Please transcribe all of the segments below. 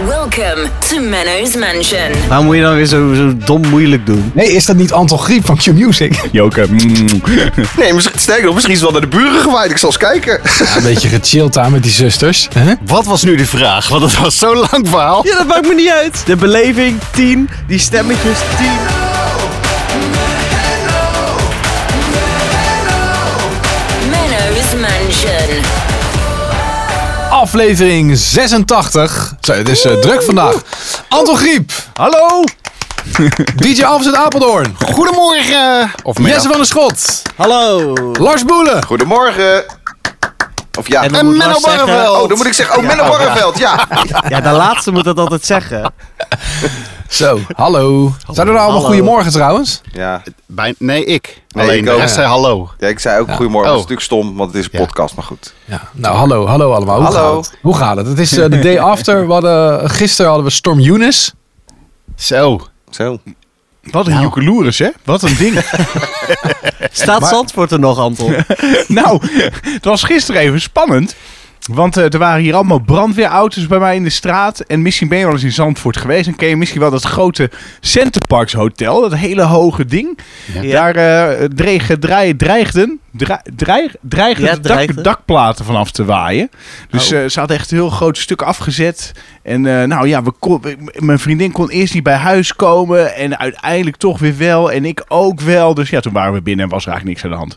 Welcome to Menno's Mansion. Waarom moet je dan weer zo, zo dom moeilijk doen? Nee, is dat niet Anton Griep van Q-Music? Joke. mm. Nee, misschien, sterker nog, misschien is het wel naar de buren gewaaid. Ik zal eens kijken. een beetje gechilled aan met die zusters. hè? Wat was nu de vraag? Want het was zo'n lang verhaal. Ja, dat maakt me niet uit. De beleving 10, die stemmetjes 10. Menno's Mansion. Aflevering 86. Zo, het is eh, druk vandaag. Anton Griep. Hallo. DJ Alves uit Apeldoorn. Goedemorgen. Of Jesse van der Schot. Hallo. Lars Boelen. Goedemorgen. Of ja, En dan moet Lars zeggen- Oh, dan moet ik zeggen, oh, Menno Barreveld, ja. Ja, de laatste moet dat altijd zeggen. Zo, hallo. Zijn er nou allemaal Hallo. goedemorgen trouwens? Ja, Bij, nee, ik. Nee, Alleen ik de ook. rest zei hallo. ja ik zei ook goedemorgen, Oh. dat is natuurlijk stom, want het is een Ja. podcast, maar goed. Ja. Nou, hallo, hallo allemaal. Hoe Hallo. gaat het? Hoe gaat het? Het is eh, de day after. We hadden, eh, gisteren hadden we Storm Eunice. Zo. Zo. Wat een joekeloeris, hè? Wat een ding. Staat Zandvoort er nog, Anton? nou, het was gisteren even spannend. Want eh, er waren hier allemaal brandweerauto's bij mij in de straat. En misschien ben je wel eens in Zandvoort geweest. En ken je misschien wel dat grote Centerparks Hotel. Dat hele hoge ding. Daar eh, dregen, drei- dreigden, dra- dreig- dreigden Ja, de dak- dreigden. Oh. dakplaten vanaf te waaien. Dus eh, ze hadden echt een heel groot stuk afgezet. En eh, nou ja, we kon, ik- mijn vriendin kon eerst niet bij huis komen. En uiteindelijk toch weer wel. En ik ook wel. Dus ja, toen waren we binnen en was er eigenlijk niks aan de hand.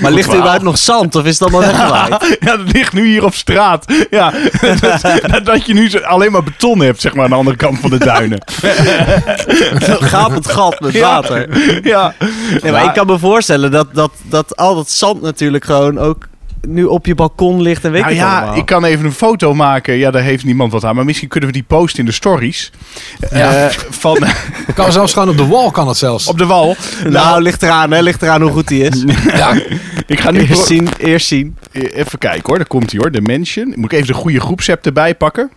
Maar ligt er verhaal. überhaupt nog zand of is het allemaal weggewaaid? Ja, dat ligt nu hier op straat. Ja, dat, dat- dat je nu zo- alleen maar beton hebt, zeg maar, aan de andere kant van de duinen. Zo'n gapend gat met water. Ja. Nee, maar ik kan me voorstellen dat, dat, dat al dat zand natuurlijk gewoon ook nu op je balkon ligt en weet Nou ik ja, allemaal. ik kan even een foto maken. Ja, daar heeft niemand wat aan. Maar misschien kunnen we die posten in de stories. Eh, van, Kan zelfs gewoon op de wall kan het zelfs. op de wal. Nou, ligt eraan, hè. Ligt eraan hoe goed die is. Ja, Ik ga nu... pro- Eerst zien, eerst zien. Even kijken hoor, daar komt hij hoor. De Mansion. Moet ik even de goede groepsapp erbij pakken?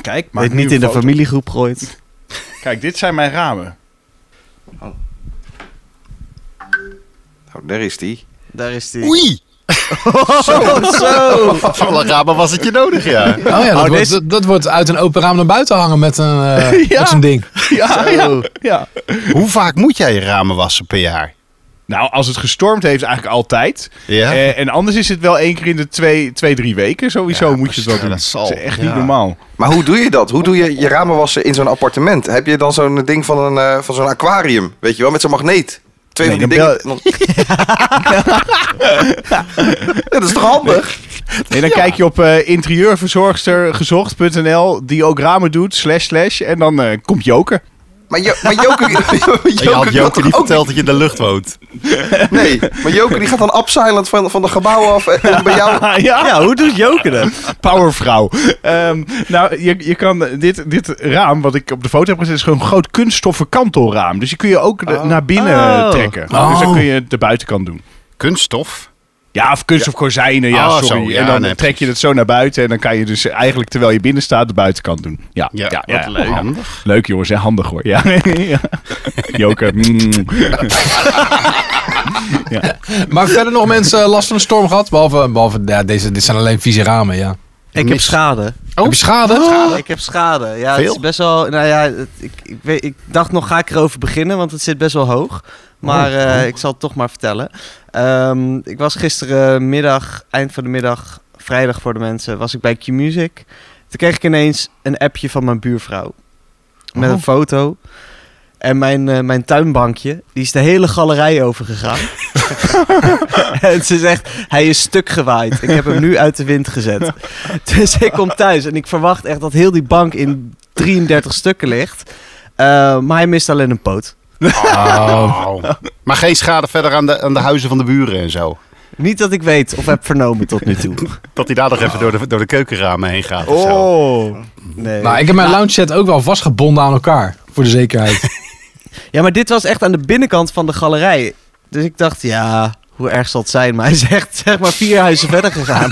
Kijk, maar Maar niet in de familiegroep gooit. Kijk, dit zijn mijn ramen. Nou, daar is die. Daar is die. Oei. Zo! Van een ramen was het je nodig, ja. oh, ja dat, wordt, deze- dat, dat wordt uit een open raam naar buiten hangen met, een, eh, Ja. met zo'n ding. Ja, ja, ja. Hoe vaak moet jij je ramen wassen per jaar? Nou, als het gestormd heeft, eigenlijk altijd. Ja. Eh, en anders is het wel één keer in de twee, twee drie weken. Sowieso Ja, moet je het wel ja, doen. dat zal. is echt Ja. niet normaal. Maar hoe doe je dat? Hoe doe je je ramen wassen in zo'n appartement? Heb je dan zo'n ding van, een, eh, van zo'n aquarium, weet je wel, met zo'n magneet? Twee Nee, van die dan dingen. Ja, dat is toch handig? Nee, dan kijk je op eh interieurverzorgstergezocht.nl, die ook ramen doet, slash slash. En dan eh, komt Joker. Maar, jo maar Joker, Joker, En je had kan Joke toch die ook verteld dat je in de lucht woont. Nee, maar Joker die gaat dan upsilent van, van de gebouwen af en en bij jou... Ah, ja. Ja, hoe doet Joker dat? Powervrouw. Ehm, nou, je, je kan dit, dit raam, wat ik op de foto heb gezet, is gewoon een groot kunststoffen kantelraam. Dus die kun je ook eh, naar binnen Oh. trekken. Dus dan kun je de buitenkant doen. Kunststof. Ja, of kunst of kozijnen, ja, Oh, zo, sorry. ja, en dan nee, trek je het zo naar buiten en dan kan je dus eigenlijk terwijl je binnen staat de buitenkant doen. Ja, ja, ja, ja. leuk. Oh, Handig. Leuk jongens, hè? handig hoor. Ja. ja. Joker. mm. Maar verder nog mensen eh, last van de storm gehad? Behalve, behalve ja, deze, dit zijn alleen vieze ramen, ja. Ik heb schade. Oh. Heb je schade? Ik heb schade. Ja, het is Veel? best wel. Nou ja, het- ik, ik, weet, ik dacht nog, ga ik erover beginnen, want het zit best wel hoog. Maar eh, ik zal het toch maar vertellen. Ehm, ik was gisterenmiddag, eind van de middag, vrijdag voor de mensen, was ik bij Q-Music. Toen kreeg ik ineens een appje van mijn buurvrouw met een foto. En mijn, eh, mijn tuinbankje, die is de hele galerij overgegaan. en ze zegt, hij is stuk gewaaid. Ik heb hem nu uit de wind gezet. Dus ik kom thuis en ik verwacht echt dat heel die bank in 33 stukken ligt. Eh, maar hij mist alleen een poot. Oh. Maar geen schade verder aan de, aan de huizen van de buren en zo. Niet dat ik weet of heb vernomen tot nu toe. Dat hij daar nog even door de, door de keukenramen heen gaat. Of zo. Oh. Nee. Nou, ik heb mijn lounge set ook wel vastgebonden aan elkaar. Voor de zekerheid. Ja, maar dit was echt aan de binnenkant van de galerij. Dus ik dacht, ja, hoe erg zal het zijn, maar hij is echt zeg maar vier huizen verder gegaan.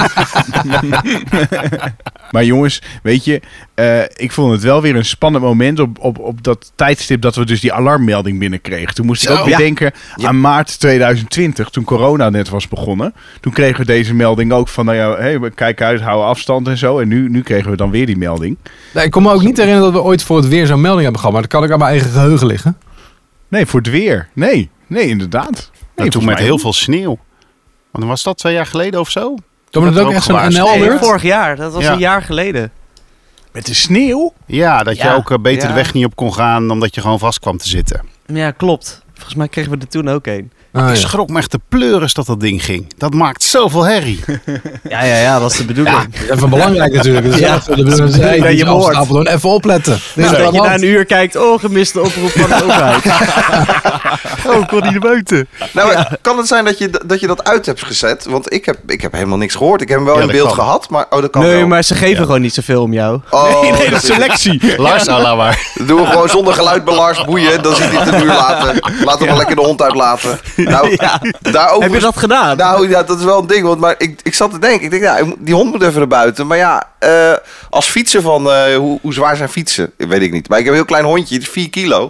Maar jongens, weet je, eh, ik vond het wel weer een spannend moment op, op, op dat tijdstip dat we dus die alarmmelding binnenkregen. Toen moest ik Zo. ook weer Ja. denken aan maart 2020, toen corona net was begonnen. Toen kregen we deze melding ook van, nou ja, hey, kijk uit, hou afstand en zo. En nu, nu kregen we dan weer die melding. Nee, ik kon me ook niet herinneren dat we ooit voor het weer zo'n melding hebben gehad. Maar dat kan ik aan mijn eigen geheugen liggen. Nee, voor het weer. Nee, nee, inderdaad. en Nee, toen volgens met mij heel veel sneeuw. Want was dat twee jaar geleden of zo? Toen Dat we dat er ook ook echt zo'n gewaarschuwd. Nee, NL-alert. vorig jaar, dat was Ja. een jaar geleden. Met de sneeuw? Oh, Ja, dat Ja. je ook eh, beter Ja. Oh, de weg niet op kon gaan omdat je gewoon vast kwam te zitten. Ja, klopt. Volgens mij kregen we er toen ook een. Ah, ja. Ik schrok me echt de pleuris dat dat ding ging. Dat maakt zoveel herrie. Ja, ja, ja, dat is de bedoeling. Even belangrijk natuurlijk. Dat is Ja. echt zo. Dat bedoelen ze, hey, Ben je die moord. Amsterdam, Apeldoorn, Even opletten. Er is Dus wat dat je aan de na hand. een uur kijkt, oh, gemiste oproep van de overheid. Oh, kon niet naar buiten. Nou, kan het zijn dat je, dat je dat uit hebt gezet? Want ik heb, ik heb helemaal niks gehoord. Ik heb hem wel Ja, in dat beeld kan. gehad, maar... Oh, dat kan Nee, wel. maar ze geven gewoon niet zoveel om jou. Oh, Nee, de selectie. Lars Alawaar. dat doen we gewoon zonder geluid bij Lars boeien. Dan ziet hij het een uur later. Laat hem maar lekker de hond uitlaten. Nou, Ja. daarover... Heb je dat gedaan? Nou ja, dat is wel een ding. Want maar ik, ik zat te denken, ik denk, ja, ik moet- die hond moet even naar buiten. Maar ja, eh, als fietsen van, eh, hoe, hoe zwaar zijn fietsen? Weet ik niet. Maar ik heb een heel klein hondje, het is 4 kilo.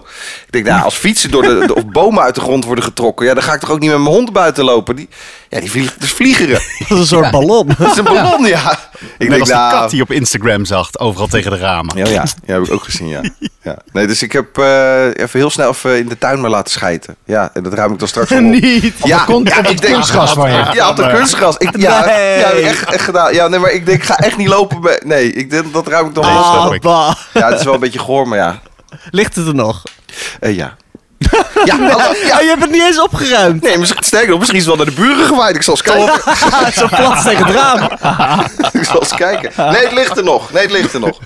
Ik denk, nou, als fietsen door de, de- of bomen uit de grond worden getrokken, ja, dan ga ik toch ook niet met mijn hond buiten lopen. Die, ja, die vliegt, dus vliegeren. Dat is een soort ballon. Dat is een ballon, ja. Ik Net denk, als nou, die kat die je op Instagram zag, overal tegen de ramen. ja, ja, ja, heb ik ook gezien, ja. ja. Nee, dus ik heb eh, even heel snel even in de tuin maar laten schijten. Ja, en dat ruim ik dan straks wel op. niet. Ja, Komt ja, op ik het denk- kunstgras van je. Ja, op de kunstgras. Ik, ja, Nee. ja echt, echt gedaan. Ja, nee, maar ik denk, ik ga echt niet lopen. Bij, nee, ik, denk- dat ruim ik dan Nee, wel. snap eens. Ah, ik. bah. Ja, het is wel een beetje goor, maar ja. Ligt het er nog? Eh, ja. Ja, hallo, ja. Oh, je hebt het niet eens opgeruimd. Nee, misschien, sterker nog, misschien is het wel naar de buren gewaaid. Ik zal eens kijken. Ah, Zo plat tegen het raam. ik zal eens kijken. Nee, het ligt er nog. Nee, het ligt er nog.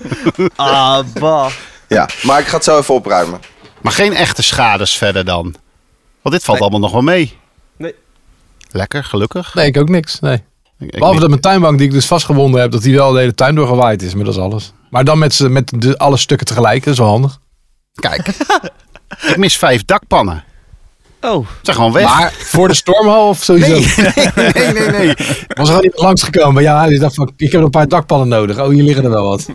Ah, bah. Ja, maar ik ga het zo even opruimen. Maar geen echte schades verder dan. Want dit valt allemaal nog wel mee. Nee. Lekker, gelukkig. Nee, ik ook niks. Nee. Ik- ik Behalve niet. dat mijn tuinbank die ik dus vastgebonden heb, dat die wel de hele tuin doorgewaaid is. Maar dat is alles. Maar dan met, z'n- met de, alle stukken tegelijk. Dat is wel handig. Kijk, ik mis vijf dakpannen. Oh, Ze zijn gewoon weg. Maar voor de stormhal of sowieso. Nee, nee, nee, nee. Was er al iemand langsgekomen? Ja, die dacht van, ik heb een paar dakpannen nodig. Oh, hier liggen er wel wat.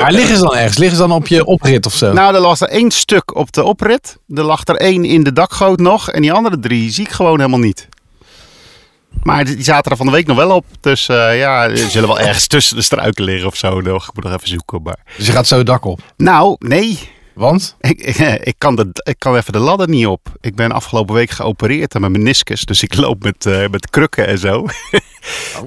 Maar liggen ze dan ergens? Liggen ze dan op je oprit of zo? Nou, er lag er één stuk op de oprit. Er lag er één in de dakgoot nog. En die andere drie zie ik gewoon helemaal niet. Maar die die zaten er van de week nog wel op. Dus eh, ja, ze zullen wel ergens tussen de struiken liggen of zo. nog. Ik moet nog even zoeken. Maar... Dus je gaat zo het dak op. Nou, nee. Want? Ik, ik, ik kan de, ik kan even de ladder niet op. Ik ben afgelopen week geopereerd aan mijn meniscus. Dus ik loop met, eh, met krukken en zo.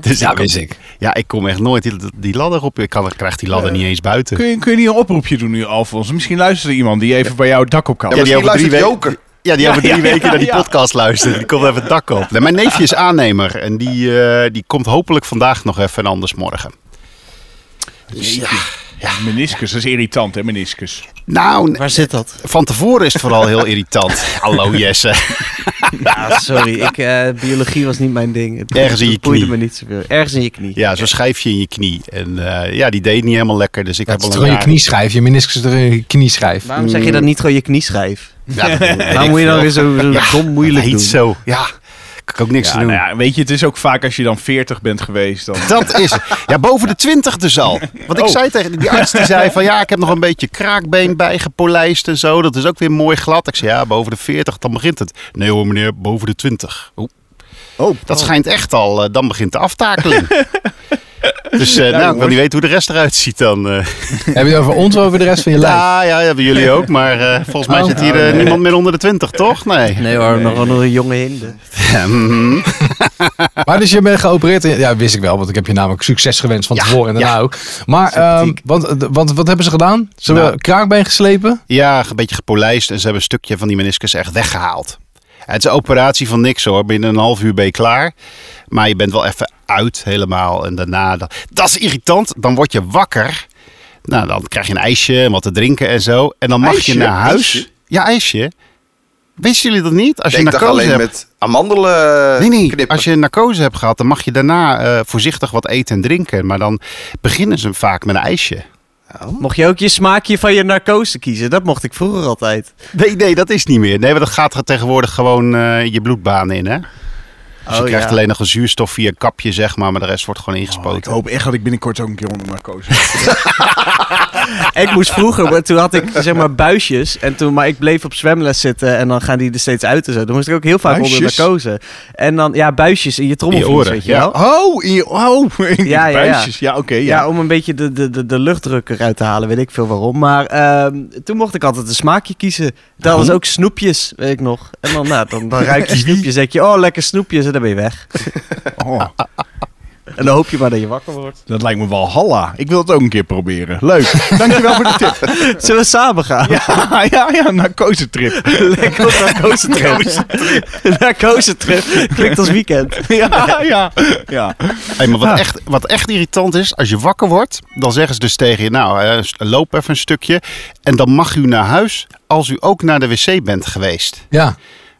dus ik kom- ik. ja, ik kom echt nooit die, die ladder op. Ik, kan, ik krijg die ladder niet eens buiten. Kun je, kun je niet een oproepje doen nu, Alfons? Misschien luistert er iemand die even bij jou het dak op kan. Ja, misschien luistert weken- Joker. Ja, die over drie ja, weken ja, naar die ja. podcast luistert. Die komt even het dak op. Nee, mijn neefje is aannemer. En die, eh, die komt hopelijk vandaag nog even en anders morgen. Meniscus, dat is irritant, hè, meniscus. Nou, n- waar zit dat? van tevoren is het vooral heel irritant. Hallo Jesse. Ah, sorry, ik, eh, biologie was niet mijn ding. Het, Ergens in je het boeide knie. me niet zoveel. Ergens in je knie. Ja, zo'n schijfje in je knie. En eh, ja, die deed niet helemaal lekker. Dus ik Dat heb is al toch een gewoon je raar- knieschijf, je meniscus is toch in je knieschijf. Waarom zeg je dan niet gewoon je knieschijf? Ja, dat weet ik Waarom moet je dan veel. weer zo, zo Ja, dom moeilijk heet doen? zo. Ja, kan ik ook niks Ja, te doen. nou ja, weet je, het is ook vaak als je dan 40 bent geweest. Dan... Dat is het. Ja, boven de 20 dus al. Want ik Oh. zei tegen die arts, die zei van ja, ik heb nog een beetje kraakbeen bijgepolijst en zo. Dat is ook weer mooi glad. Ik zei ja, boven de 40, dan begint het. Nee hoor meneer, boven de 20. Oeh, Oh, dat schijnt echt al, eh, dan begint de aftakeling. Dus eh, nou, ik wil jongens. niet weten hoe de rest eruit ziet dan. eh. Heb je het over ons of over de rest van je lijf? Ja, ja, hebben jullie ook. Maar eh, volgens mij Oh. zit hier eh, niemand meer onder de 20, toch? Nee. Mhm. Nee hoor, nog wel een jonge hinde. Maar dus je bent geopereerd. in- ja, wist ik wel, want ik heb je namelijk succes gewenst van Ja, tevoren en daarna ja. ook. Maar ehm want, eh, want, wat hebben ze gedaan? Ze hebben Nou. kraakbeen geslepen. Ja, een beetje gepolijst en ze hebben een stukje van die meniscus echt weggehaald. Het is een operatie van niks hoor. Binnen een half uur ben je klaar. Maar je bent wel even uit helemaal. En daarna, dat, dat is irritant. Dan word je wakker. Nou, dan krijg je een ijsje en wat te drinken en zo. En dan mag Ijsje? je naar huis. Ijsje? Ja, ijsje. Wisten jullie dat niet? Als Nee, je ik dacht narcose alleen hebt. met amandelen eh, Nee, nee. knippen. Als je narcose hebt gehad, dan mag je daarna eh, voorzichtig wat eten en drinken. Maar dan beginnen ze vaak met een ijsje. Oh. Mocht je ook je smaakje van je narcose kiezen? Dat mocht ik vroeger altijd. Nee, nee, dat is niet meer. Nee, maar dat gaat er tegenwoordig gewoon eh, je bloedbaan in, hè? Dus je Oh, krijgt ja. alleen nog een zuurstof via een kapje, zeg maar. Maar de rest wordt gewoon Oh, ik ingespoten. hoop echt dat ik binnenkort ook een keer onder narcose ben. Ik moest vroeger, maar toen had ik zeg maar buisjes. En toen, maar ik bleef op zwemles zitten en dan gaan die er steeds uit en zo. Dan moest ik ook heel vaak onder Buisjes? narcose. En dan, ja, buisjes in je In je trommelvlies, oren, weet je ja. wel. Oh, in je, oh, in Ja, je ja, ja. buisjes. Ja, oké. ja. Ja, om een beetje de, de, de, de luchtdruk eruit te halen, weet ik veel waarom. Maar ehm, toen mocht ik altijd een smaakje kiezen. Dat was ook snoepjes, weet ik nog. En dan, nou, dan, dan ruik je snoepjes, denk je, oh, lekker snoepjes, en dan ben je weg. Oh, En dan hoop je maar dat je wakker wordt. dat lijkt me wel halla. Ik wil het ook een keer proberen. Leuk. Dankjewel voor de tip. Zullen we samen gaan? Ja, ja, ja. Narcose trip. Lekker op narcosetrip. narcosetrip. Klinkt als weekend. Ja, ja. ja. Hey, maar wat, Ja. echt, wat echt irritant is, als je wakker wordt, dan zeggen ze dus tegen je, nou, eh, s- loop even een stukje. En dan mag u naar huis als u ook naar de wc bent geweest. Ja.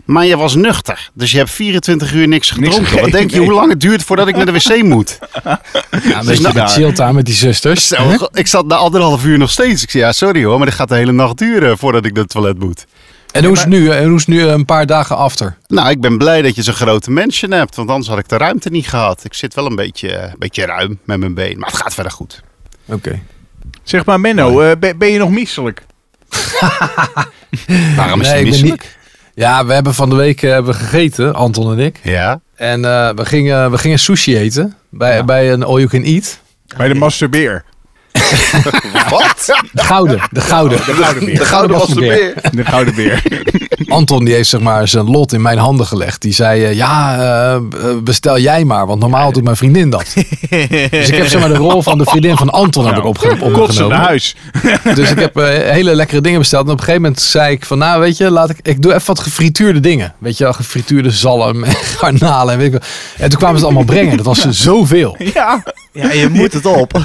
Maar je was nuchter, dus je hebt 24 uur niks gedronken. gegeten, wat denk je, hoe lang het duurt voordat ik naar de wc moet? ja een beetje nou- daar. chillt daar met Dus die zusters. Zo, ik zat na anderhalf uur nog steeds. Ik zei, ja, sorry hoor, maar dit gaat de hele nacht duren voordat ik naar het toilet moet. En hoe is het nu? En hoe is het nu eh, een paar dagen after? Nou, ik ben blij dat je zo'n grote mansion hebt, want anders had ik de ruimte niet gehad. Ik zit wel een beetje, eh, een beetje ruim met mijn been, maar het gaat verder goed. Oké. Zeg maar, Menno, eh, ben, ben je nog misselijk? Waarom is Nee, het ik ben misselijk? Ja, we hebben van de week eh, hebben we gegeten, Anton en ik. Ja, En eh, we, gingen, we gingen sushi eten bij, bij een All You Can Eat. Bij de masturbeer. Wat? De gouden, de gouden. De gouden De beer. gouden was er wasbeer. weer. De gouden beer. Anton die heeft zeg maar zijn lot in mijn handen gelegd. Die zei, eh, ja, eh, bestel jij maar, want normaal doet mijn vriendin dat. dus ik heb zeg maar de rol van de vriendin van Anton heb ik opge- Nou, Kotsen naar opgenomen. huis. Dus ik heb eh, hele lekkere dingen besteld. En op een gegeven moment zei ik van, nou weet je, laat ik, ik doe even wat gefrituurde dingen. Weet je wel, gefrituurde zalm en garnalen. En, weet ik wel. en toen kwamen ze het allemaal brengen. Dat was er zoveel. Ja. Ja, je moet het op.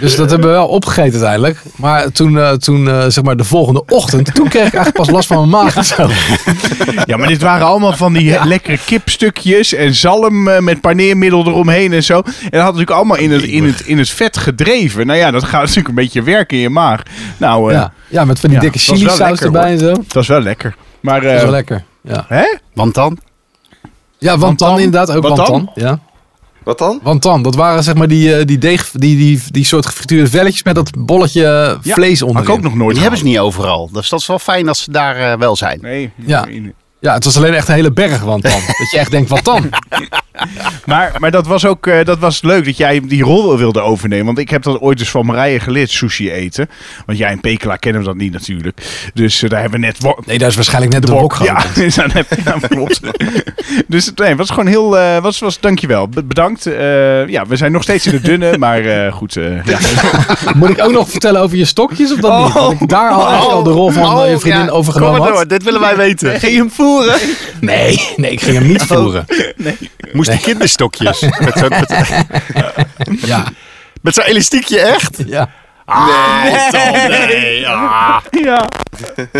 Dus dat hebben we wel opgegeten uiteindelijk. Maar toen, eh, toen eh, zeg maar de volgende ochtend, toen kreeg ik eigenlijk pas last van mijn maag. en zo. Ja, maar dit waren allemaal van die eh, lekkere kipstukjes en zalm eh, met paneermiddel eromheen en zo. En dat had natuurlijk allemaal in het, in het, in het vet gedreven. Nou ja, dat gaat natuurlijk een beetje werken in je maag. Nou, eh, Ja, ja, met van die Ja, dikke dat was chili wel saus lekker, erbij en zo. dat is wel lekker. Maar, Dat is eh, wel lekker. Ja, hè? want dan? ja want dan Wantan? inderdaad ook Wantan? wantan. Ja. Wat dan? Wantan, dat waren zeg maar die, eh, die deeg, die, die, die soort gefrituurde velletjes met dat bolletje eh, Ja, vlees Had ik onder. ook nog nooit Die hebben ze gehad. niet overal. Dus dat is wel fijn als ze daar eh, wel zijn. Nee. Ja. Ja, het was alleen echt een hele berg wantan. dat je echt denkt, wantan. Maar, maar dat was ook eh, dat was leuk dat jij die rol wilde overnemen. Want ik heb dat ooit dus van Marije geleerd, sushi eten. Want jij en Pekela kennen dat niet natuurlijk. Dus eh, daar hebben we net wo- Nee, daar is waarschijnlijk net de bok Ja, gehad. dus dan heb je- ja, klopt. dus nee, het was gewoon heel... eh was, was, dankjewel, Be- bedankt. Eh, ja, we zijn nog steeds in de dunne, maar eh, goed. eh, ja. Moet ik ook nog vertellen over je stokjes of dat niet? Oh. Want ik daar al, echt al de rol van eh, je vriendin overgenomen Oh, Kom maar had. door, dit willen wij weten. Ging je hem voeren? Nee, nee, ik ging hem Oh. niet voeren. Moest die kinderstokjes. Met zo'n met, Ja, met zo'n elastiekje echt? ja. Ah, nee. nee. ah. ja.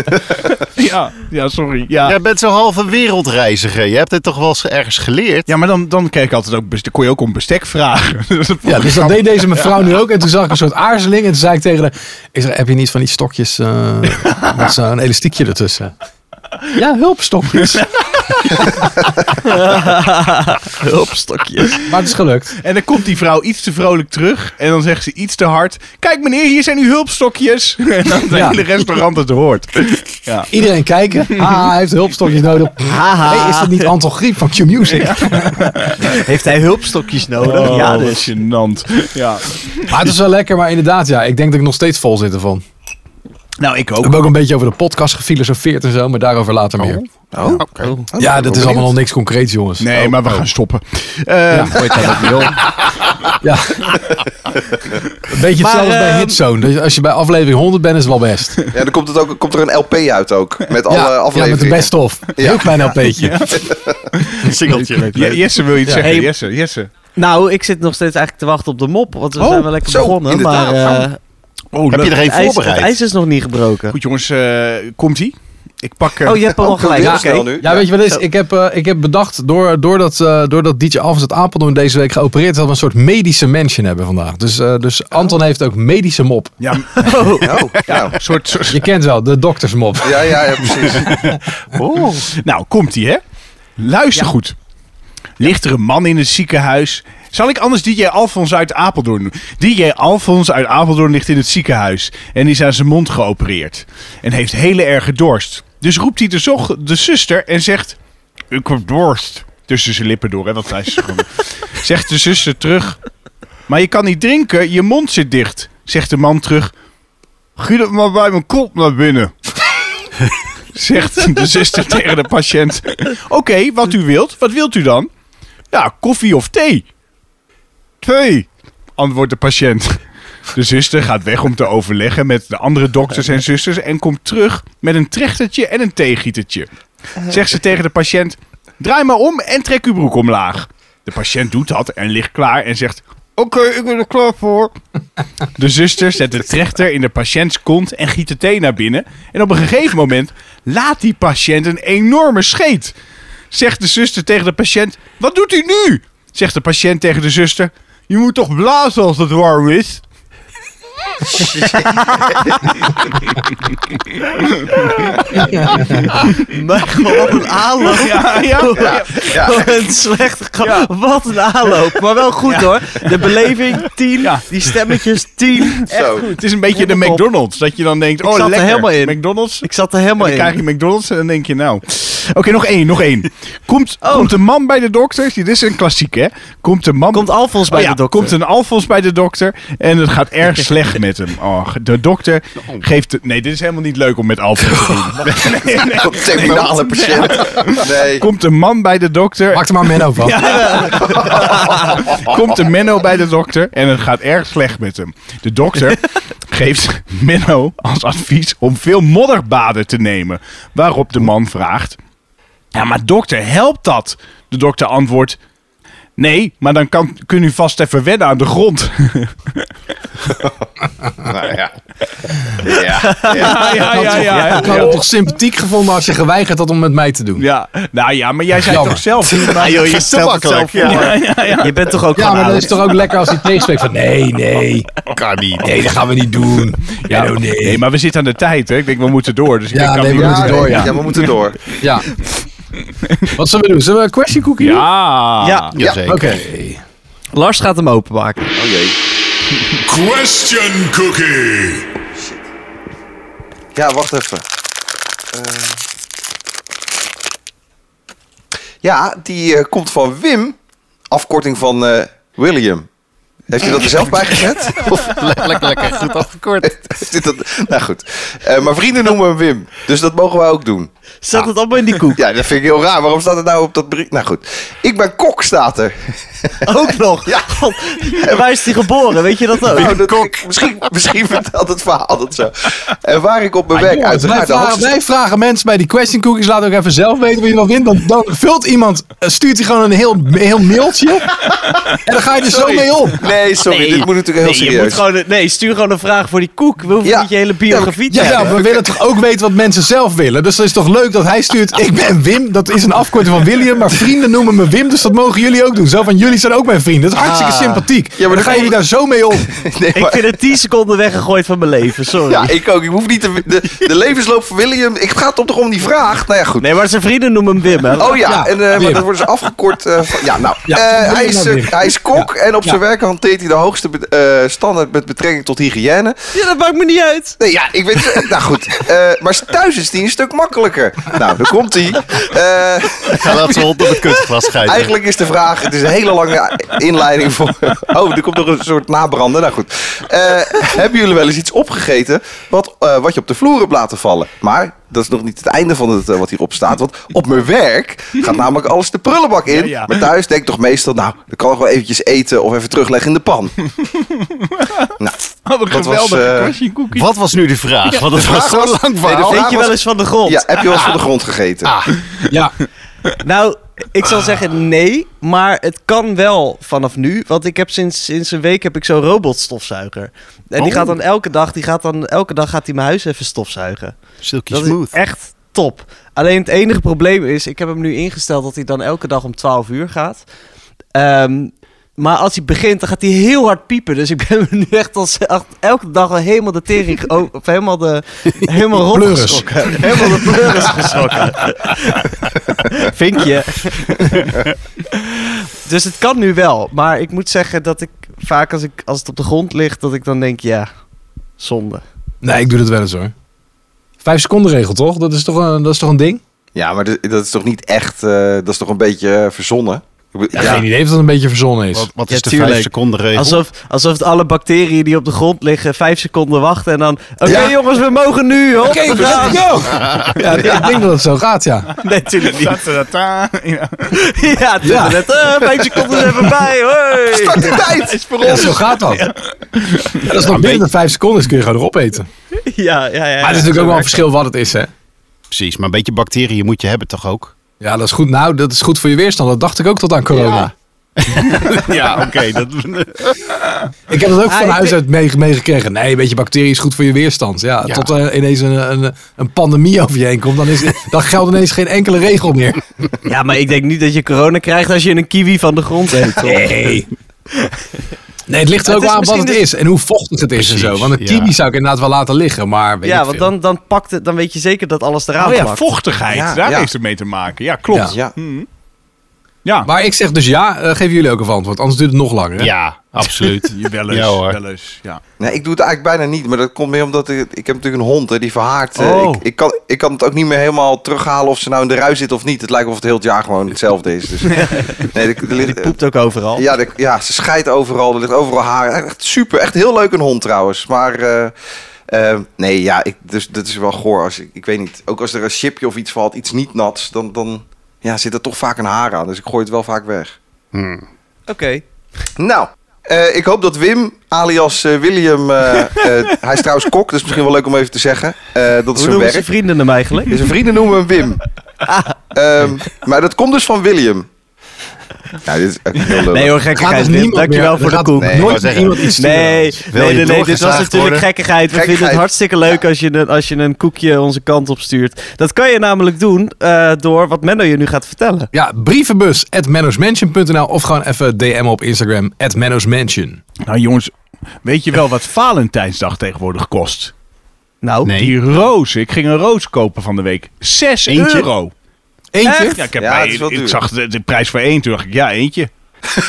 ja, ja, sorry. Ja. Jij bent zo'n halve wereldreiziger. Je hebt dit toch wel eens ergens geleerd? Ja, maar dan, dan kreeg ik altijd ook, best- kon je ook om bestek vragen. Dat vond Ja, dus ik dat grappig. deed deze mevrouw nu ook. En toen zag ik een soort aarzeling. En toen zei ik tegen haar, ik zeg, heb je niet van die stokjes eh, met zo'n elastiekje ertussen? Ja, hulpstokjes. Hulpstokjes. Maar het is gelukt. En dan komt die vrouw iets te vrolijk terug. En dan zegt ze iets te hard. Kijk meneer, hier zijn uw hulpstokjes. En dan het Ja. hele restaurant het hoort. Ja. Iedereen kijken. Ah, hij heeft hulpstokjes nodig. Haha. Hey, is dat niet Anton Griep van Q-Music? Heeft hij hulpstokjes nodig? Oh, ja, wat dus. gênant. Ja. Maar het is wel lekker. Maar inderdaad, ja, ik denk dat ik nog steeds vol zit ervan. Nou, ik Ik ook. heb ook een beetje over de podcast gefilosofeerd en zo. Maar daarover later meer. Oh, Ja, dat is allemaal nog niks concreets, jongens. Nee, maar we gaan stoppen. Eh, Ja. Een beetje Maar, hetzelfde als bij ehm, Hitzone. Dus als je bij aflevering 100 bent, is het wel best. Ja, dan komt, het ook, komt er een LP uit ook. Met alle ja, met afleveringen. de best of. Heel klein LP'tje. Een singeltje. Je- Jesse wil je iets Ja. zeggen. Hey. Jesse, Jesse. Nou, ik zit nog steeds eigenlijk te wachten op de mop. Want we Oh, zijn wel lekker zo, begonnen. inderdaad. Maar eh, Oh, Heb je het, er geen ijs, het voorbereid? ijs is nog niet gebroken. Goed jongens, eh, komt ie? Ik pak... eh, Oh, je hebt hem al gelijk. Heel Oké. snel nu. Ja, weet je wat het is? Ik heb, eh, ik heb bedacht, door, doordat, eh doordat DJ Alves het Apeldoorn deze week geopereerd is, dat we een soort medische mention hebben vandaag. Dus, eh, dus Anton heeft ook medische mop. Ja, Oh, ja. een soort, soort- Je kent wel, de doktersmop. Ja, ja, ja, precies. Nou, komt ie hè? Luister goed. Ligt er een man in het ziekenhuis? Zal ik anders DJ Alfons uit Apeldoorn doen? DJ Alfons uit Apeldoorn ligt in het ziekenhuis en is aan zijn mond geopereerd. En heeft hele erge dorst. Dus roept hij de, zoch- de zuster en zegt... Ik heb dorst. Tussen zijn lippen door, hè, want hij is gewoon- Zegt de zuster terug... Maar je kan niet drinken, je mond zit dicht. Zegt de man terug... Giet het maar bij mijn kop naar binnen. Zegt de zuster tegen de patiënt. Oké, wat u wilt. Wat wilt u dan? Ja, koffie of thee? Thee, antwoordt de patiënt. De zuster gaat weg om te overleggen met de andere dokters en zusters en komt terug met een trechtertje en een theegietertje. Zegt ze tegen de patiënt: Draai maar om en trek uw broek omlaag. De patiënt doet dat en ligt klaar en zegt: Oké, ik ben er klaar voor. De zuster zet de trechter in de patiënts kont en giet de thee naar binnen. En op een gegeven moment laat die patiënt een enorme scheet. Zegt de zuster tegen de patiënt: Wat doet u nu? Zegt de patiënt tegen de zuster: Je moet toch blazen als het warm is? Wat een aanloop. Ja, ja, ja. Wat een slechte grap. Ja. Wat een aanloop. Maar wel goed hoor. De beleving 10. Ja. Die stemmetjes 10. Zo. Het is een beetje de Kom op. McDonald's. Dat je dan denkt: Oh, zat er lekker. helemaal in. McDonald's. Ik zat er helemaal Dan krijg in. je McDonald's en dan denk je nou. Oké, nog één, nog één. Komt, Oh. komt een man bij de dokter. Dit is een klassiek, hè? Komt een man Komt Alfons bij Oh ja, de dokter. Komt een Alfons bij de dokter en het gaat erg slecht met hem. Oh, de dokter geeft... het- nee, dit is helemaal niet leuk om met Alfons te doen. Nee, nee, nee. Terminale patiënt. Nee. Komt een man bij de dokter Maak er maar Menno van. komt de Menno bij de dokter en het gaat erg slecht met hem. De dokter geeft Menno als advies om veel modderbaden te nemen. Waarop de man vraagt: Ja, maar dokter, helpt dat? De dokter antwoordt: Nee, maar dan kan, kun u vast even wennen aan de grond. Nou ja. Ja. Ja, ja, ja, ja. Ik had het toch sympathiek gevonden als je geweigerd had om met mij te doen. Ja, nou ja, maar jij zei Jammer. toch zelf. Ah, joh, je Vertel stelt het het zelf zelf voor. Je bent toch ook Ja, gewoon maar dat oud? is toch ook lekker als hij tegenspreekt van nee, nee, Kan niet. nee, dat gaan we niet doen. Ja, oh, nee. Nee, maar we zitten aan de tijd, hè? Ik denk, we moeten door. Dus ik Ja, denk, kan nee, we niet- moeten door, ja. ja, we moeten door. Ja. Wat zullen we doen? Zullen we een question cookie doen? Ja. Ja. Jazeker. Oké. Lars gaat hem openmaken. Oh jee. Question Cookie. Ja, wacht even. Eh. Ja, die eh, komt van Wim. Afkorting van eh, William. Heeft je dat er zelf bij gezet? Of Lekker, lekker. Goed afgekort. zit dat... Nou goed. Eh, maar vrienden noemen hem Wim. Dus dat mogen wij ook doen. Zet het allemaal in die koek. Ja, dat vind ik heel raar. Waarom staat het nou op dat brief? Nou goed. Ik ben kok, staat er. Ook nog. Ja. God. En waar is die geboren? Weet je dat ook? Nou, dat- ik- misschien, misschien vertelt het verhaal dat zo. En waar ik op mijn werk Ah, Jongens, wij, uiteraard de vragen, hoogste... wij vragen mensen bij die question cookies. Laat ook even zelf weten wie je nog wint. Dan, dan vult iemand, eh, stuurt hij gewoon een heel, heel mailtje. En dan ga je er zo mee om. Nee, sorry. Nee. Dit moet natuurlijk heel nee, je moet serieus. gewoon, een- nee, stuur gewoon een vraag voor die koek. We hoeven Ja. niet je hele biografie te Ja, ja, hebben. maar we willen toch ook weten wat mensen zelf willen. Dus dat is toch leuk dat hij stuurt. Ik ben Wim, dat is een afkorting van William. Maar vrienden noemen me Wim, dus dat mogen jullie ook doen. Zo van jullie zijn ook mijn vrienden. Dat is hartstikke sympathiek. Ah. maar maar dan dan gaan kom- jullie daar zo mee om. Nee, Ik maar- vind het 10 seconden weggegooid van mijn leven, sorry. Ja, ik ook. Ik hoef niet te, de, de levensloop van William. Ik ga toch toch om die vraag. Nou ja, goed. Nee, maar zijn vrienden noemen hem Wim, hè? Oh ja, Ja, en, eh, maar Wim. dat wordt dus afgekort. eh, van- ja, nou, Ja, eh, Wim hij, is, nou eh, Wim. hij is kok en op Ja. zijn werk hanteert hij de hoogste be- eh, standaard met betrekking tot hygiëne. Ja, dat maakt me niet uit. Nee, ja, ik weet. nou goed, eh, maar thuis is die een stuk makkelijker. Nou, daar komt hij. Eh, Ga laat ze hond op het kunstglas schijten. Eigenlijk is de vraag, het is een hele lange inleiding voor... Oh, er komt nog een soort nabranden. Nou goed. Eh, hebben jullie wel eens iets opgegeten wat, eh, wat je op de vloer hebt laten vallen? Maar dat is nog niet het einde van het, eh, wat hierop staat. Want op mijn werk gaat namelijk alles de prullenbak in. Ja, ja. Maar thuis denk ik toch meestal, nou, dan kan ik wel eventjes eten of even terugleggen in de pan. nou, Oh, Wat een Dat was, geweldige eh, question cookie. Wat was nu de vraag? Want het was vraag zo was- lang Nee, de verhaal. vraag Weet je was- wel eens van de grond? Ja, heb je wel eens van de Ah. grond gegeten? Ja, Nou, ik zal zeggen nee, maar het kan wel vanaf nu. Want ik heb sinds, sinds een week heb ik zo'n robotstofzuiger. En die Oh. gaat dan elke dag, die gaat dan elke dag gaat hij mijn huis even stofzuigen. Silky Dat is smooth. echt top. Alleen het enige probleem is, ik heb hem nu ingesteld dat hij dan elke dag om 12 uur gaat. Ehm, Maar als hij begint, dan gaat hij heel hard piepen. Dus ik ben nu echt als, echt elke dag al helemaal de tering... o- Of helemaal de... Helemaal rond Pleuris. geschrokken. Helemaal de pleuris geschrokken. Vinkje. dus het kan nu wel. Maar ik moet zeggen dat ik vaak als, ik, als het op de grond ligt... dat ik dan denk, ja, zonde. Nee, ik doe dat wel eens hoor. Vijf seconden regel toch? Dat is toch een, dat is toch een ding? Ja, maar dat, dat is toch niet echt... eh, dat is toch een beetje eh, verzonnen? Ik bedoel- Ja. Geen idee of dat een beetje verzonnen is. Wat, wat Ja, is de tuurlijk. 5 seconden regel? Alsof, alsof het alle bacteriën die op de grond liggen... vijf seconden wachten en dan... Oké Ja. jongens, we mogen nu, hoor. Oké, let's go! Ja, ik denk dat het zo gaat, ja. Nee, natuurlijk niet. Ta-ta-ta. Ja. Ja, Ja. net. eh, vijf seconden zijn voorbij. Hoi. Ja, zo gaat dat. Ja, dat is nog binnen de vijf seconden, is kun je gewoon erop eten. Ja, ja, ja. Maar dus het is natuurlijk ook wel een verschil wat het is, hè. Precies, maar een beetje bacteriën moet je hebben toch ook? Ja, dat is goed. Nou, dat is goed voor je weerstand. Dat dacht ik ook tot aan corona. Ja, oké. dat... Ik heb dat ook Ah, van ik huis denk- uit mee- meegekregen. nee, een beetje bacteriën is goed voor je weerstand. Ja, Ja. tot er ineens een, een, een pandemie over je heen komt. Dan, is, dan geldt ineens geen enkele regel meer. Ja, maar ik denk niet dat je corona krijgt als je een kiwi van de grond eet. hoor. Nee. Nee, het ligt er Het is ook wel aan wat misschien het dus- is en hoe vochtig het is en zo. Precies, Want een ja. kiwi zou ik inderdaad wel laten liggen, maar weet Ja, ik want veel. dan, dan, pakt het, dan weet je zeker dat alles eraan Oh ja, plakt. vochtigheid. Ja, daar ja. heeft het mee te maken. Ja, klopt. Ja. Ja. Ja. Maar ik zeg dus ja, eh, geven jullie ook een antwoord, anders duurt het nog langer. hè? Ja, absoluut. Wel eens, Ja, hoor. wel eens. Ja. Nee, ik doe het eigenlijk bijna niet. Maar dat komt meer omdat ik, ik heb natuurlijk een hond hè, die verhaart. eh, Oh. Ik, ik, kan, ik kan het ook niet meer helemaal terughalen of ze nou in de rui zit of niet. Het lijkt of het heel het jaar gewoon hetzelfde is. Dus, nee, er, er ligt, eh, Die poept ook overal. ja, er- ja, ze scheidt overal. Er ligt overal haar. Echt super. Echt heel leuk een hond trouwens. Maar eh, eh, nee, ja, ik, dus, dat is wel goor. Als, ik, ik weet niet. Ook als er een chipje of iets valt, iets niet nats, dan, dan ja, zit er toch vaak een haar aan. Dus ik gooi het wel vaak weg. Oké. Nou, eh, ik hoop dat Wim, alias eh, William, eh, eh, hij is trouwens kok, dus misschien wel leuk om even te zeggen. eh, dat is Hoe zijn noemen ze Ah. werk. vrienden hem eigenlijk? Dus zijn vrienden noemen hem Wim. Ehm, maar dat komt dus van William. Ja, dit is echt heel lullig. Nee hoor, Gaat gekkigheid nog niemand Wim. meer- Dankjewel er voor de gaat koek. Nee, Nee, ik wou Nooit meer zeggen. iemand iets sturen. nee, Wil nee, nee, je dit was doorgezaagd natuurlijk worden? gekkigheid. We vinden het Gekkigheid. hartstikke leuk Ja. als, je een, als je een koekje onze kant op stuurt. Dat kan je namelijk doen eh, door wat Menno je nu gaat vertellen. Ja, brievenbus at mennosmansion.nl of gewoon even DM op Instagram at mennosmansion. Nou jongens, weet je wel wat Valentijnsdag tegenwoordig kost? Nou, Nee. Die roos. Ik ging een roos kopen van de week. 6 Eentje? euro. Eentje? Ja, ik, heb Ja, bij- het is wel ik duur. zag de, de prijs voor één. Toen dacht ik, ja, eentje.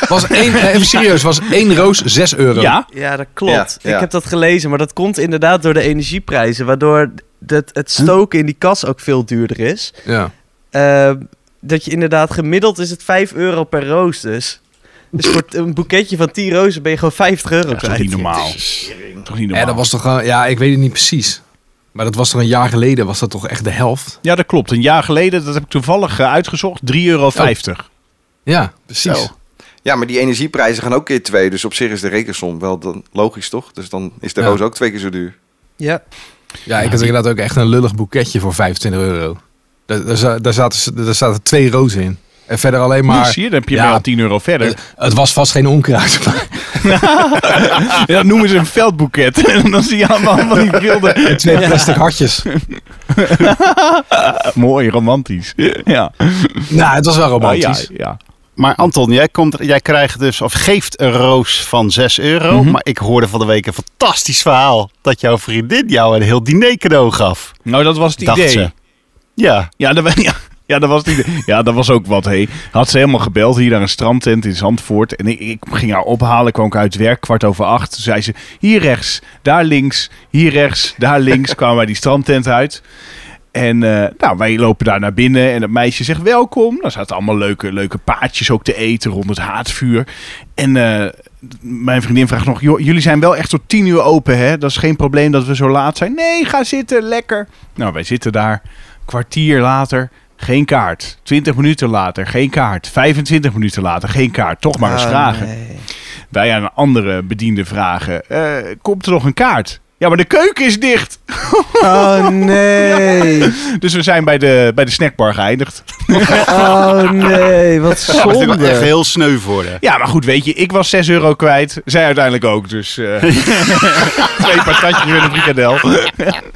Was één, eh, even serieus, was één roos 6 euro. Ja, Ja, dat klopt. Ja, ja. Ik heb dat gelezen, maar dat komt inderdaad door de energieprijzen, waardoor dat het stoken in die kas ook veel duurder is. Ja. Ehm, dat je inderdaad gemiddeld is het 5 euro per roos dus. Dus voor t- een boeketje van 10 rozen ben je gewoon 50 euro dat is toch kwijt. niet normaal. Toch niet normaal. Ja, dat was toch, eh, ja, ik weet het niet precies. Maar dat was toch een jaar geleden, was dat toch echt de helft? Ja, dat klopt. Een jaar geleden, dat heb ik toevallig eh, uitgezocht, 3,50 euro. Ja, precies. Zo. Ja, maar die energieprijzen gaan ook keer twee. Dus op zich is de rekensom wel dan logisch, toch? Dus dan is de Ja. roos ook twee keer zo duur. Ja. Ja, ik had inderdaad ook echt een lullig boeketje voor 25 euro. Daar, daar, za- daar, zaten, daar zaten twee rozen in. En verder alleen Maar maar... zie je, dan heb je Ja. wel 10 euro verder. Het was vast geen onkruid. maar Ja, dat noemen ze een veldboeket. en dan zie je allemaal van die wilde... Twee plastic hartjes. Mooi, romantisch. Ja. Nou, het was wel romantisch. Oh, ja, ja. Maar Anton, jij, komt, jij krijgt dus, of geeft een roos van 6 euro. Maar ik hoorde van de week een fantastisch verhaal. Dat jouw vriendin jou een heel diner cadeau gaf. Nou, dat was het Dacht idee. ze. Ja, Ja, dat, wa- ja, ja, dat was het idee. Ja, dat was ook wat. Hey. Had ze helemaal gebeld hier naar een strandtent in Zandvoort. En ik, ik ging haar ophalen. Kwam ik uit werk, kwart over acht. Toen zei ze, hier rechts, daar links, hier rechts, daar links. kwamen wij die strandtent uit. En eh, nou, wij lopen daar naar binnen en dat meisje zegt welkom. Daar zaten allemaal leuke, leuke paadjes ook te eten rond het haardvuur. En eh, mijn vriendin vraagt nog, "Joh, jullie zijn wel echt tot tien uur open hè? Dat is geen probleem dat we zo laat zijn. Nee, ga zitten, lekker. Nou, wij zitten daar. Kwartier later, geen kaart. Twintig minuten later, geen kaart. 25 minuten later, geen kaart. Toch Oh, maar eens Ah, vragen nee. wij aan een andere bediende vragen: eh, Komt er nog een kaart? Ja, maar de keuken is dicht. Oh nee. Dus we zijn bij de, bij de snackbar geëindigd. Oh nee. Wat Dat is natuurlijk wel echt zonde. heel sneu voor haar. Ja, maar goed, weet je, ik was 6 euro kwijt. Zij uiteindelijk ook. Dus eh, twee patatjes en een frikandel.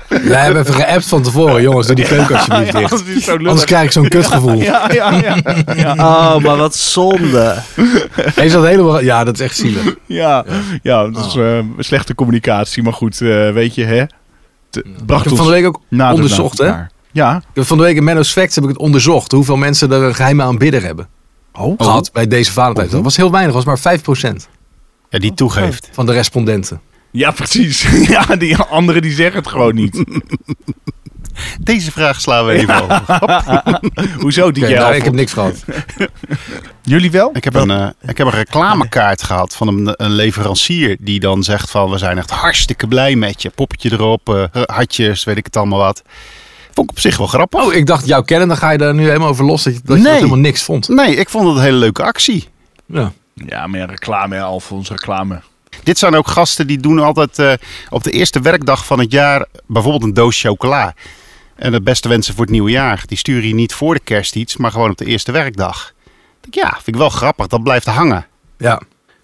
Wij hebben even geappt van tevoren, jongens. Doe die keuken alsjeblieft Ja, dicht. dat is zo lullig. Anders krijg ik zo'n kutgevoel. Ja, ja, ja. ja. Oh, maar wat zonde. Heeft dat helemaal... Ja, dat is echt zielig. Ja, ja dat is eh, slechte communicatie. Maar goed, eh, weet je, hè? Het bracht Ik heb ons van de week ook nader onderzocht, naar hè? elkaar. Ja. Ik heb Van de week in Menno's Facts heb ik het onderzocht. Hoeveel mensen er een geheime aanbidder hebben. Oh. Gehad bij deze Valentijn. Dat was heel weinig. was maar 5% Ja, die toegeeft. van de respondenten. Ja, precies. Ja, die anderen die zeggen het gewoon niet. Deze vraag slaan we even over. Hoezo, die Oké, jij nou, al ik heb niks gehad. Jullie wel? Ik heb, een, eh, ik heb een reclamekaart gehad van een, een leverancier die dan zegt van we zijn echt hartstikke blij met je. Poppetje erop, eh, hartjes, weet ik het allemaal wat. Vond ik op zich wel grappig. Oh, ik dacht, jouw kennen, dan ga je daar nu helemaal over los. Dat je, dat je Nee. dat helemaal niks vond. Nee, ik vond het een hele leuke actie. Ja. Ja, meer reclame, hè, Alfons, reclame. Dit zijn ook gasten die doen altijd eh, op de eerste werkdag van het jaar bijvoorbeeld een doos chocola. En de beste wensen voor het nieuwe jaar. Die sturen je niet voor de kerst iets, maar gewoon op de eerste werkdag. Ik denk, Ja, vind ik wel grappig. Dat blijft hangen. ja.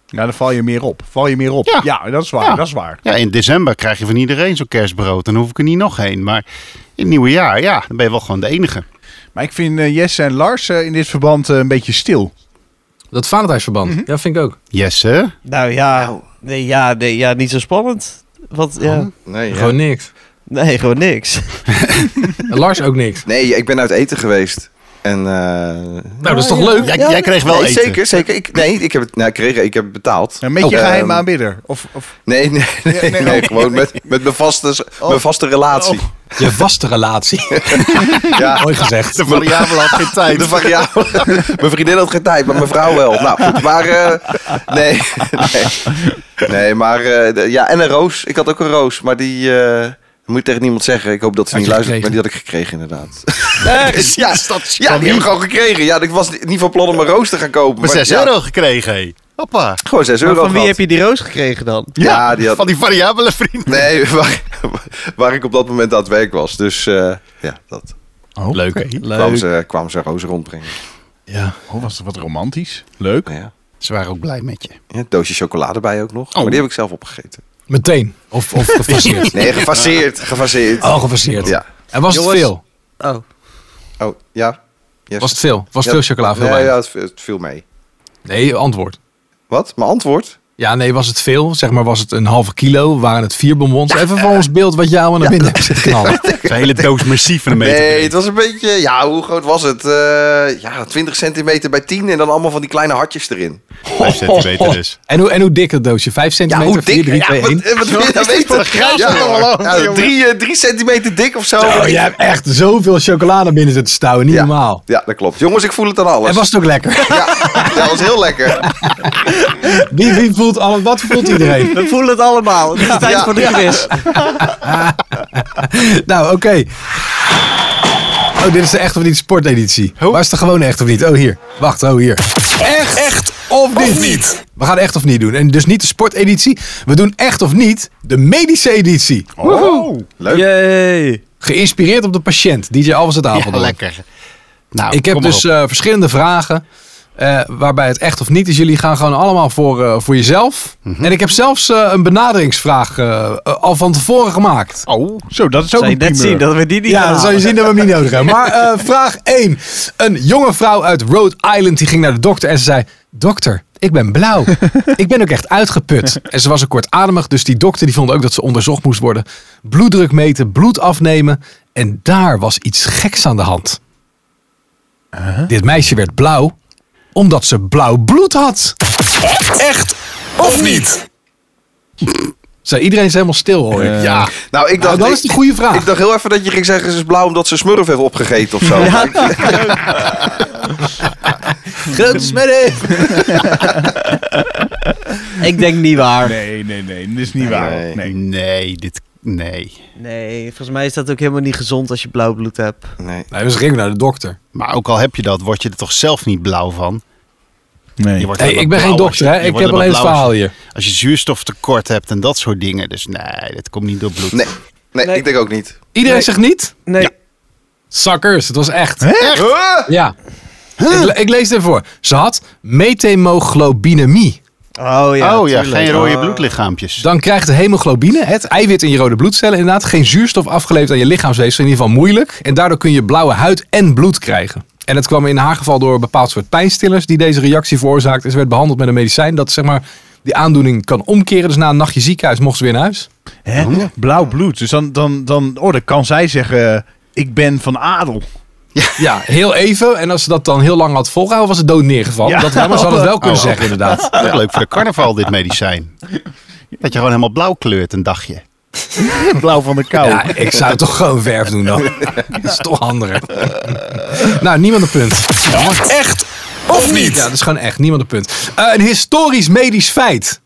Ja, dan val je meer op. Val je meer op. Ja, Ja. dat is waar. Ja. Dat is waar. Ja, in december krijg je van iedereen zo'n kerstbrood. Dan hoef ik er niet nog heen. Maar in het nieuwe jaar, ja, dan ben je wel gewoon de enige. Maar ik vind eh, Jesse en Lars eh, in dit verband eh, een beetje stil. Dat Valentijnsverband. Mhm. Ja, vind ik ook. Yes, hè? Nou ja. Nee, ja, nee, ja niet zo spannend. Wat, ja. Nee, ja. Gewoon niks. Nee, gewoon niks. En Lars ook niks. nee, ik ben uit eten geweest. En, eh, Nou, dat is toch leuk? Jij, jij kreeg wel nee, eten. Zeker, zeker. Ik, nee, ik heb het nou, ik kreeg, ik heb het betaald. Een beetje Oh. geheime Ehm, aanbidder. Of, of Nee, nee, nee, nee, nee, oh. gewoon met, met mijn, vaste, mijn vaste relatie. Je vaste relatie. Ja, Mooi gezegd. De variabele had geen tijd. de variabel. mijn vriendin had geen tijd, maar mijn vrouw wel. Nou, goed, maar eh, nee, nee. Nee, maar eh, de- ja, en een roos. Ik had ook een roos, maar die eh, dat moet ik tegen niemand zeggen. Ik hoop dat ze Had niet je luistert, maar die gekregen? had ik gekregen inderdaad. ja, ja, die heb ik gewoon gekregen. Ja, ik was niet van plan om een roos te gaan kopen. Maar 6 ja, euro gekregen, hé. Hoppa. Gewoon 6 Maar euro van wie gehad. heb je die roos gekregen dan? Ja, die had... Van die variabele vrienden. Nee, waar, waar ik op dat moment aan het werk was. Dus eh, ja, dat Leuk. kwam ze, kwam ze rozen rondbrengen. Ja. oh, was het wat romantisch? Leuk. Ja. Ze waren ook blij met je. Ja, een doosje chocolade bij ook Oh. nog. Maar die heb ik zelf opgegeten. Meteen. Of, of gefaseerd. Nee, gefaseerd. Gefaseerd. Oh, gefaseerd. Ja. En was Jongens. het veel? Oh. Oh, ja. Yes. Was het veel? Was Ja, het veel chocola? Veel nee, wijn? ja, het, het viel mee. Nee, antwoord. Wat? Mijn antwoord? Ja, nee, was het veel? Zeg maar, was het een halve kilo? Waren het vier bonbons? Even voor ons beeld wat jij allemaal naar binnen hebt zitten knallen. Een hele doos massief een meter. Nee, het was een beetje... Ja, hoe groot was het? Eh, ja, 20 centimeter bij 10 en dan allemaal van die kleine hartjes erin. 5 centimeter dus. En hoe, en hoe dik het doosje? Vijf Ja, centimeter? hoe dik? Vier, drie, ja, twee, wat, één? eh, wat wil je nou weten? Ja, ja, drie, eh, drie centimeter dik of zo. Oh, jij hebt echt zoveel chocolade binnen zitten stouwen. Niet ja. normaal. Ja, dat klopt. Jongens, ik voel het aan alles. En was het ook lekker? Ja, dat was heel lekker. Wie, wie voelt alle, wat voelt iedereen? We voelen het allemaal. Het is de tijd Ja. voor de quiz. Nou, oké. Oh, dit is de echt of niet sporteditie. Waar is de gewone echt of niet? Oh, hier. Wacht, oh, hier. Echt, echt of, niet. We gaan echt of niet doen. En dus niet de sporteditie. We doen echt of niet de medische editie. Leuk. Yay. Geïnspireerd op de patiënt. DJ Alves het avond. Ja, lekker. Nou, Ik heb kom maar dus op. eh, verschillende vragen. eh, waarbij het echt of niet is. Jullie gaan gewoon allemaal voor, eh, voor jezelf. Mhm. En ik heb zelfs eh, een benaderingsvraag eh, eh, al van tevoren gemaakt. Oh. Zo, dat is ook Zou je een net primeur. zien dat we die niet Ja, gaan dan zal je halen. zien dat we hem niet nodig hebben. Maar eh, vraag 1. Een jonge vrouw uit Rhode Island die ging naar de dokter en ze zei... Dokter, ik ben blauw. Ik ben ook echt uitgeput. En ze was ook kortademig, dus die dokter die vond ook dat ze onderzocht moest worden. Bloeddruk meten, bloed afnemen. En daar was iets geks aan de hand. Dit meisje werd blauw omdat ze blauw bloed had. Echt of niet? Zei iedereen is helemaal stil hoor. ik. Ja, Nou, ik dacht, dat ik- is een goede vraag. Ik dacht heel even dat je ging zeggen, ze is blauw omdat ze smurf heeft opgegeten of zo. Maar ik- Grote smerrie. Ik denk niet waar. Nee. Nee, nee, nee. Dat is niet waar. Nee. Nee. nee, dit... Nee. volgens mij is dat ook helemaal niet gezond als je blauw bloed hebt. Nee. Nee, ze gingen naar de dokter. Maar ook al heb je dat, word je er toch zelf niet blauw van? Nee. Je wordt Hey, ik helemaal ben geen blauw dokter, als hè? je- je Ik wordt heb alleen het helemaal blauw verhaal als je- hier. Als je zuurstoftekort hebt en dat soort dingen. Dus nee, dat komt niet door bloed. Nee, nee, Nee. ik denk ook niet. Iedereen Nee. zegt niet? Nee. Ja. Suckers, het was echt. Echt? Ja. Ik, le- ik lees het even voor. Ze had methemoglobinemie. Oh ja, oh ja, tuurlijk. geen rode Oh. bloedlichaampjes. Dan krijgt de hemoglobine, het eiwit in je rode bloedcellen, inderdaad geen zuurstof afgeleverd aan je lichaamsweefsel. In ieder geval moeilijk. En daardoor kun je blauwe huid en bloed krijgen. En dat kwam in haar geval door een bepaald soort pijnstillers die deze reactie veroorzaakte. En ze werd behandeld met een medicijn dat zeg maar die aandoening kan omkeren. Dus na een nachtje ziekenhuis mocht ze weer naar huis. Hè? Blauw bloed. Dus dan, dan, dan, oh, dan kan zij zeggen, ik ben van adel. Ja, heel even. En als ze dat dan heel lang had volgehouden, was ze dood neergevallen. Ja. Dat wel, maar ze had het wel kunnen Oh. zeggen inderdaad. Dat is leuk voor de carnaval, dit medicijn. Dat je gewoon helemaal blauw kleurt een dagje. Blauw van de kou. Ja, ik zou toch gewoon verf doen dan. Dat is toch handiger. nou, niemand een punt. Echt of niet? Ja, dat is gewoon echt niemand een punt. Eh, een historisch medisch feit.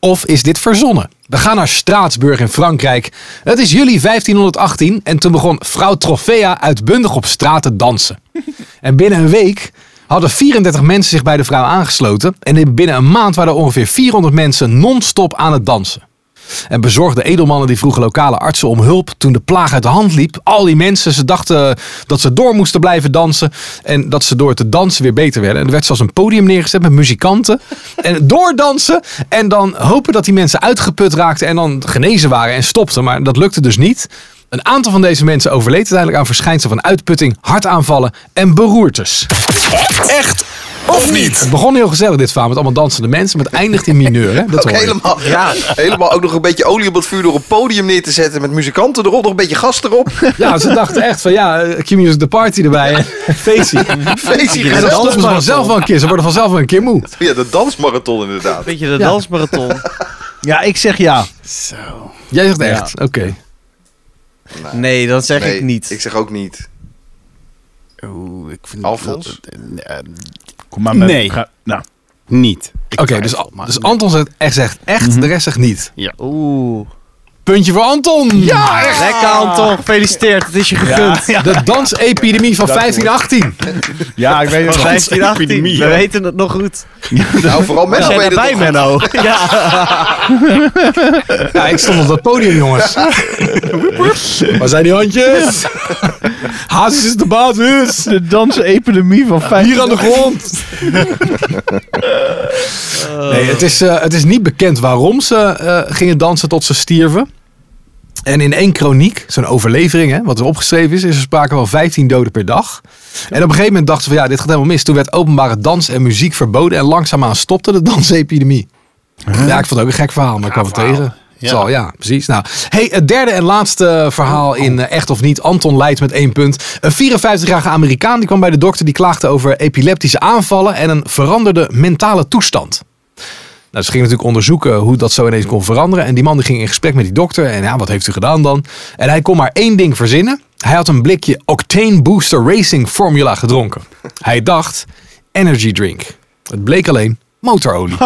Of is dit verzonnen? We gaan naar Straatsburg in Frankrijk. Het is juli 1518 en toen begon vrouw Trofea uitbundig op straat te dansen. En binnen een week hadden 34 mensen zich bij de vrouw aangesloten. En in binnen een maand waren er ongeveer 400 mensen non-stop aan het dansen. En bezorgde edelmannen die vroegen lokale artsen om hulp toen de plaag uit de hand liep. Al die mensen, ze dachten dat ze door moesten blijven dansen. En dat ze door te dansen weer beter werden. En er werd zelfs een podium neergezet met muzikanten. En doordansen. En dan hopen dat die mensen uitgeput raakten en dan genezen waren en stopten. Maar dat lukte dus niet. Een aantal van deze mensen overleed uiteindelijk aan verschijnselen van uitputting, hartaanvallen en beroertes. Echt of niet? Het begon heel gezellig dit verhaal met allemaal dansende mensen, maar het eindigt in mineur. Hè? Dat Ook hoor je. helemaal, helemaal ook nog een beetje olie op het vuur door een podium neer te zetten met muzikanten erop, nog een beetje gas erop. Ja, ze dachten echt van ja, eh, Kim Music de party erbij. hè. Feestie. Feestje En dan stoppen ze vanzelf wel een keer. Ze worden vanzelf wel een keer moe. Ja, de dansmarathon inderdaad. Beetje de Ja. dansmarathon. Ja, ik zeg ja. Jij zegt echt. Oké. Nee, dat zeg Nee, ik niet. Ik zeg ook niet. Oeh, ik vind dat- Alfons? eh, eh, Kom maar met. Nee. Ga- nou, niet. Ik Oké, dus, twijfel, maar- dus Anton zegt echt, zegt echt de rest zegt niet. Oeh. Puntje voor Anton. Ja, Lekker Anton, gefeliciteerd. Het is je gegund. ja, De dansepidemie van 1518. ja, ik weet het wel. 15, 18. We weten het nog goed. Nou, vooral We Menno zijn weet het erbij, nog goed. Menno. Ja. Ja, ik stond op dat podium, jongens. Waar zijn die handjes? Hazes is de basis. De dansepidemie van 15. Hier aan de grond. Nee, het is, eh, het is niet bekend waarom ze eh, gingen dansen tot ze stierven. En in één kroniek, zo'n overlevering, hè, wat er opgeschreven is, is er sprake van 15 doden per dag. En op een gegeven moment dachten ze van ja, dit gaat helemaal mis. Toen werd openbare dans en muziek verboden en langzaamaan stopte de dansepidemie. Ja, ik vond het ook een gek verhaal, maar ik kwam het tegen. Ja. Zal, ja, precies. Nou, hey, het derde en laatste verhaal in eh, Echt of Niet. Anton Leidt met één punt. Een 54-jarige Amerikaan die kwam bij de dokter. Die klaagde over epileptische aanvallen en een veranderde mentale toestand. Nou, ze gingen natuurlijk onderzoeken hoe dat zo ineens kon veranderen. En die man die ging in gesprek met die dokter. En ja, wat heeft u gedaan dan? En hij kon maar één ding verzinnen. Hij had een blikje Octane Booster Racing Formula gedronken. Hij dacht, energy drink. Het bleek alleen motorolie.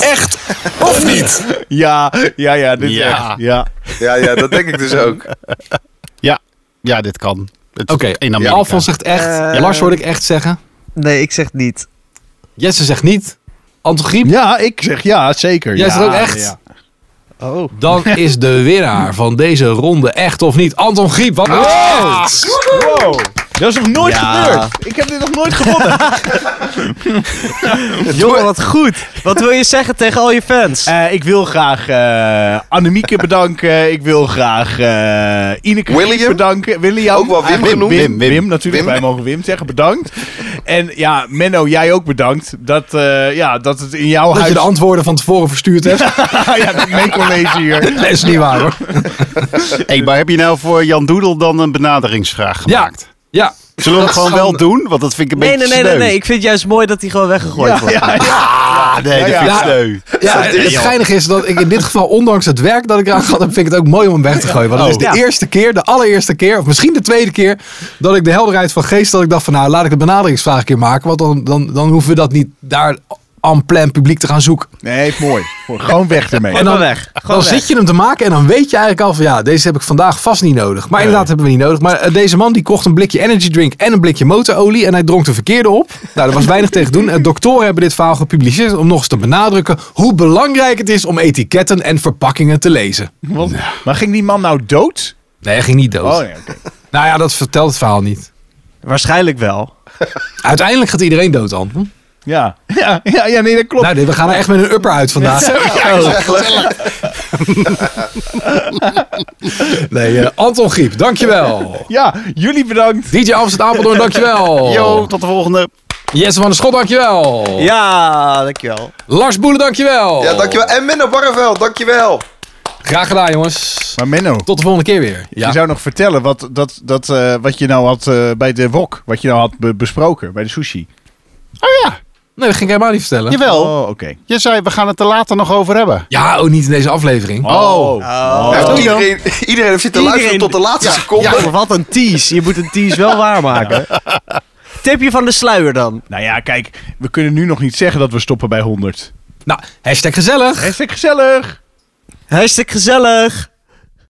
Echt of niet? Ja, ja, ja. Dit Ja. ja. ja. Ja, ja, dat denk ik dus ook. Ja, ja, dit kan. Het is Oké, in Amerika. Alfons zegt echt. Eh, Lars hoorde ik echt zeggen. Nee, ik zeg niet. Jesse zegt niet. Anton Griep, Ja, ik zeg ja, zeker. Jij ja, zegt ook echt? Ja. Oh. dan is de winnaar van deze ronde echt of niet. Anton Griep, wat Wow. Dat is nog nooit Ja. gebeurd. Ik heb dit nog nooit gewonnen. Jongen, wat goed. Wat wil je zeggen tegen al je fans? Eh, ik wil graag eh, Annemieke bedanken. Ik wil graag eh Ineke William? bedanken. William. Ook wel Wim Ah, genoemd. Wim, Wim, Wim. Wim, natuurlijk. Wim. Wij mogen Wim zeggen. Bedankt. En ja, Menno, jij ook bedankt. Dat, eh, ja, dat het in jouw Dat je huis... de antwoorden van tevoren verstuurd hebt. ja, dat mijn college hier. Dat is niet waar hoor. Hey, maar heb je nou voor Jan Doedel dan een benaderingsvraag gemaakt? Ja. Zullen we hem Dat gewoon is wel gewoon- doen? Want dat vind ik een Nee, nee, beetje nee, nee, sneu. nee. Ik vind het juist mooi dat hij gewoon weggegooid wordt. Ja, ja. Ah, nee, dat Ja, vind ik ja. sneu. Ja, Sorry, het joh. geinige is dat ik in dit geval, ondanks het werk dat ik eraan gehad heb, vind ik het ook mooi om hem weg te gooien. Want het is de Oh. Ja. eerste keer, de allereerste keer, of misschien de tweede keer, dat ik de helderheid van geest, dat ik dacht van nou, laat ik de benaderingsvraag een keer maken. Want dan, dan, dan hoeven we dat niet daar en plein publiek te gaan zoeken. Nee, mooi. Gewoon weg ermee. En dan weg. Gewoon dan weg. zit je hem te maken en dan weet je eigenlijk al van ja, deze heb ik vandaag vast niet nodig. Maar inderdaad hebben we niet nodig. Maar eh, deze man die kocht een blikje energy drink en een blikje motorolie en hij dronk de verkeerde op. Nou, daar was weinig tegen te doen. En doktoren hebben dit verhaal gepubliceerd om nog eens te benadrukken hoe belangrijk het is om etiketten en verpakkingen te lezen. Want- Maar ging die man nou dood? Nee, hij ging niet dood. Oh, nee, oké. Nou ja, dat vertelt het verhaal niet. Waarschijnlijk wel. Uiteindelijk gaat iedereen dood, Anton. ja. Ja, ja, ja, nee, dat klopt. Nou, dit- we gaan er echt met een upper uit vandaag. Nee, eh, Anton Griep, dankjewel. Ja, jullie bedankt. DJ Amsterdam Apeldoorn, dankjewel. Yo, tot de volgende. Jesse van der Schot, dankjewel. Ja, dankjewel. Lars Boelen, dankjewel. Ja, dankjewel. En Menno Barreveld, dankjewel. Oh. Graag gedaan, jongens. Maar Menno, Tot de volgende keer weer. je zou nog vertellen wat, dat, dat, eh, wat je nou had eh, bij de wok. Wat je nou had be- besproken bij de sushi. Nee, dat ging ik helemaal niet vertellen. Jawel. Oh, oké. Oh Je zei, we gaan het er later nog over hebben. Ja, ook niet in deze aflevering. Oh. doei dan. Ja, Nou, iedereen, iedereen heeft zitten luisteren Iedereen- tot de laatste seconde. Ja, Oh, wat een tease. Je moet een tease wel waarmaken. Tipje van de sluier dan. Nou ja, kijk, we kunnen nu nog niet zeggen dat we stoppen bij 100. Nou, hashtag gezellig. Hartstikke gezellig. Hartstikke gezellig.